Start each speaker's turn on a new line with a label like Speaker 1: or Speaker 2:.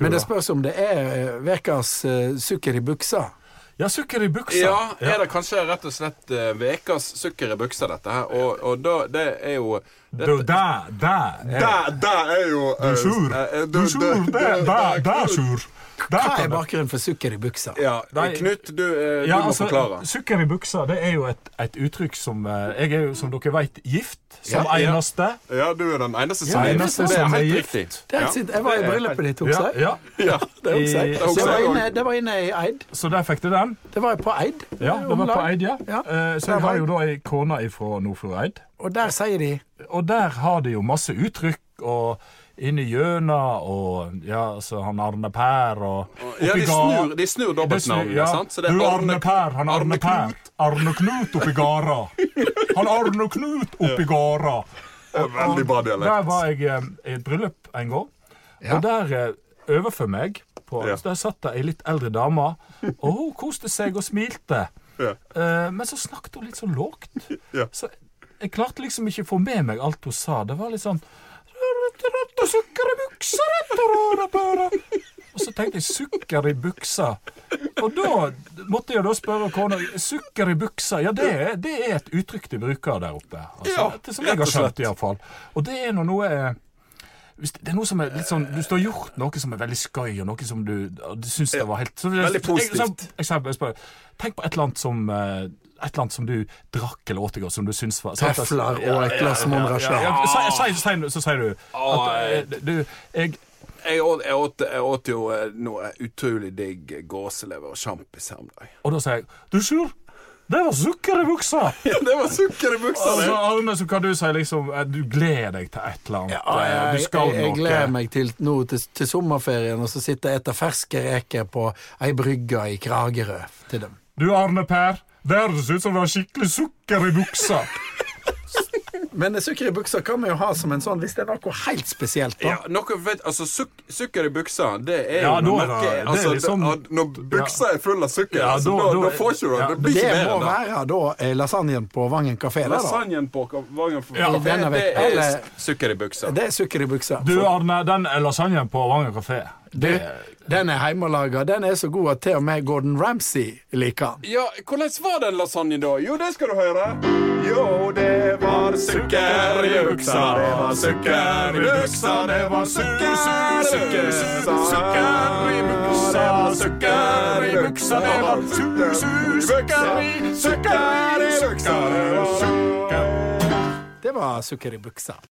Speaker 1: Men det spørs om det er ukas sukker i buksa.
Speaker 2: Ja, sukker i buksa.
Speaker 3: Ja, er det kanskje rett og slett eh, vekas sukker i buksa, dette her? Og, og da, det er jo det,
Speaker 2: Du, der, der er-
Speaker 3: der, der er jo
Speaker 2: Du
Speaker 3: eh,
Speaker 2: sur.
Speaker 3: eh, eh,
Speaker 2: Du sur. Der, der, der sur. Der
Speaker 1: Hva
Speaker 2: kan
Speaker 1: er
Speaker 2: det.
Speaker 1: bakgrunnen for sukker i buksa?
Speaker 3: Ja,
Speaker 2: Nei.
Speaker 3: Knut, du, eh,
Speaker 2: Ja,
Speaker 3: du må
Speaker 2: altså,
Speaker 3: forklare.
Speaker 2: Sukker i buksa det er jo et, et uttrykk som eh, Jeg er jo, som dere vet, gift som
Speaker 3: Ja, ja.
Speaker 2: eneste.
Speaker 3: Ja, du er den eneste som
Speaker 2: Ja,
Speaker 3: er
Speaker 2: eneste
Speaker 3: Det er
Speaker 2: som er
Speaker 3: helt
Speaker 2: gift.
Speaker 3: riktig.
Speaker 1: Det er helt
Speaker 3: Ja.
Speaker 1: sint. Jeg var i bryllupet ditt,
Speaker 2: Ja,
Speaker 1: Oksøy.
Speaker 2: ja.
Speaker 3: Ja.
Speaker 1: Det,
Speaker 2: I-
Speaker 1: husker jeg.
Speaker 2: Det
Speaker 1: det,
Speaker 3: husker
Speaker 1: var
Speaker 3: jeg
Speaker 1: inne, det var inne i Eid.
Speaker 2: Så der fikk du den.
Speaker 1: Det var jeg på Eid.
Speaker 2: Ja, det var på
Speaker 1: Omland.
Speaker 2: Eid, ja. Eh, Så
Speaker 1: Der
Speaker 2: jeg
Speaker 1: var
Speaker 2: har jo
Speaker 1: jeg.
Speaker 2: da ei kone ifra Nordfjordeid.
Speaker 1: Og der sier de
Speaker 2: Og der har de jo masse uttrykk og inni gjøna og ja, altså han Arne Per og
Speaker 3: Ja, de
Speaker 2: oppi ga-
Speaker 3: snur, de snur
Speaker 2: Det snur-
Speaker 3: dobbeltnavnene,
Speaker 2: ja.
Speaker 3: sant? Så det er
Speaker 2: Du, Arne Per, han Arne,
Speaker 3: Arne
Speaker 2: Per. Arne Knut oppi gara. Han Arne Knut oppi gara.
Speaker 3: Veldig bra dialekt.
Speaker 2: Der var jeg eh, i et bryllup en gang, og der eh, overfor meg på,
Speaker 3: Ja.
Speaker 2: Der satt det ei litt eldre dame, og hun koste seg og smilte.
Speaker 3: Ja.
Speaker 2: Eh, men så snakket hun litt så lågt.
Speaker 3: Ja.
Speaker 2: Så jeg klarte liksom ikke å få med meg alt hun sa. Det var litt sånn «Rødt og sukker i buksa, rødt og røde pære». Og så tenkte jeg 'sukker i buksa'. Og da måtte jeg da spørre kona 'Sukker i buksa', ja, det er, det er et uttrykk de bruker der oppe. Altså,
Speaker 3: Ja,
Speaker 2: det som jeg
Speaker 3: rett
Speaker 2: har
Speaker 3: og slett.
Speaker 2: skjønt, iallfall. Og det er nå noe eh, hvis det det er noe som er litt sånn Hvis du har gjort noe som er veldig skøy, og noe som du, og du syns det var helt så,
Speaker 3: Veldig positivt.
Speaker 2: Jeg, så, jeg, så- jeg spør, tenk på et eller annet som eh, et eller annet som du drakk eller åt i går, som du syns var sant?
Speaker 1: Tøfler
Speaker 2: Ja,
Speaker 1: og et glass Mon
Speaker 2: ja,
Speaker 1: Rachat.
Speaker 2: ja,
Speaker 3: Ah.
Speaker 2: si- si- si- Så sier du at eh, du jeg,
Speaker 3: Jeg åt, jeg åt, jeg åt jo eh, noe utrolig digg gåselever og sjampis her om dagen.
Speaker 2: Og da sier jeg Du Sjur, det var sukker i buksa!
Speaker 3: Ja, det var sukker i buksa!
Speaker 2: Altså,
Speaker 3: det.
Speaker 2: Arne, så kan du si liksom eh, Du gleder deg til et eller annet. eh, du
Speaker 1: Jeg,
Speaker 2: skal
Speaker 1: jeg, jeg
Speaker 2: noe.
Speaker 1: gleder meg til, nå, til, til sommerferien, og så sitter jeg etter ferske reker på ei brygge i Kragerø til dem.
Speaker 2: Du Arne Per, det høres ut som det var skikkelig sukker i buksa.
Speaker 1: Men sukker i buksa kan vi jo ha som en sånn hvis det er noe helt spesielt.
Speaker 3: Ja,
Speaker 1: da.
Speaker 3: noe, vet, altså, suk sukker i buksa, det er
Speaker 2: Ja,
Speaker 3: jo
Speaker 2: da
Speaker 3: noe
Speaker 2: er det-
Speaker 3: merke-
Speaker 2: det er
Speaker 3: altså,
Speaker 2: liksom-
Speaker 3: at Når buksa er full av sukker,
Speaker 2: Ja,
Speaker 3: altså,
Speaker 2: da-
Speaker 3: da,
Speaker 2: da-
Speaker 3: da får ikke du
Speaker 2: ja,
Speaker 3: det. blir
Speaker 1: Det
Speaker 3: ikke mer
Speaker 1: må
Speaker 3: enn det.
Speaker 1: være da eh, lasagnen på Vangen kafé. Det,
Speaker 3: Lasagnen på Vangen for
Speaker 2: Ja,
Speaker 3: det,
Speaker 1: den er
Speaker 3: det
Speaker 1: vekk.
Speaker 3: er
Speaker 1: Eller-
Speaker 3: sukker i buksa.
Speaker 1: da. det er sukker i buksa.
Speaker 2: Du
Speaker 1: For-
Speaker 2: Arne, den lasagnen på Vanger kafé
Speaker 1: Du, den er hjemmelaga. Den er så god at til og med Gordon Ramsay liker den.
Speaker 3: Ja, hvordan var den lasagnen da? Jo, det skal du høre. Jo, det var sukker i buksa, det var sukker i buksa, det var sukker, sukker, sukker i buksa, sukker i buksa, det var sukker, sukker i sukker i buksa, det var sukker.
Speaker 1: Det var sukker i buksa.